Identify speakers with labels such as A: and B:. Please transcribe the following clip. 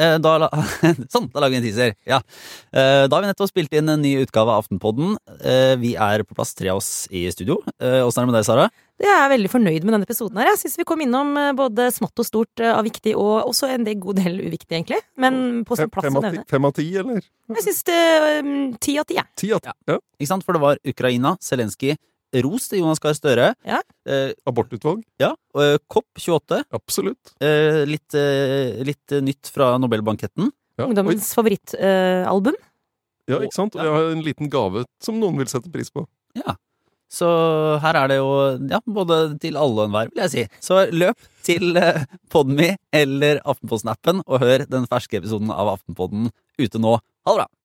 A: Eh, da, la- sånn, da lager vi en teaser. Ja. Eh, da har vi nettopp spilt inn en ny utgave av Aftenpodden. Eh, vi er på plass tre av oss i studio. Eh, Åssen er det med deg, Sara?
B: Jeg er veldig fornøyd med denne episoden. her. Jeg synes vi kom innom eh, både smått og stort eh, av viktig, og også en del god del uviktig, egentlig. Men på sin sånn plass
C: Fem
B: å
C: av ti-
B: nevne.
C: Fem av ti, eller?
B: Jeg syns eh, ti av ti, jeg.
C: Ti av ti. Ja.
A: Ikke sant? For det var Ukraina, Zelenskyj, ros til Jonas Gahr Støre.
B: Ja.
A: Eh,
C: Abortutvalg.
A: ja. og, eh, COP28.
C: Absolutt.
A: Eh, litt, eh, litt eh, nytt fra Nobelbanketten.
C: Ja. Oi,
B: Ungdommens eh, favorittalbum.
C: ja, ikke sant? Og jeg har en liten gave som noen vil sette pris på.
A: Så her er det jo ja, både til alle og enhver, vil jeg si. Så løp til eh, Podme eller Aftenposten-appen og hør den ferske episoden av Aftenpodden ute nå. Ha det bra!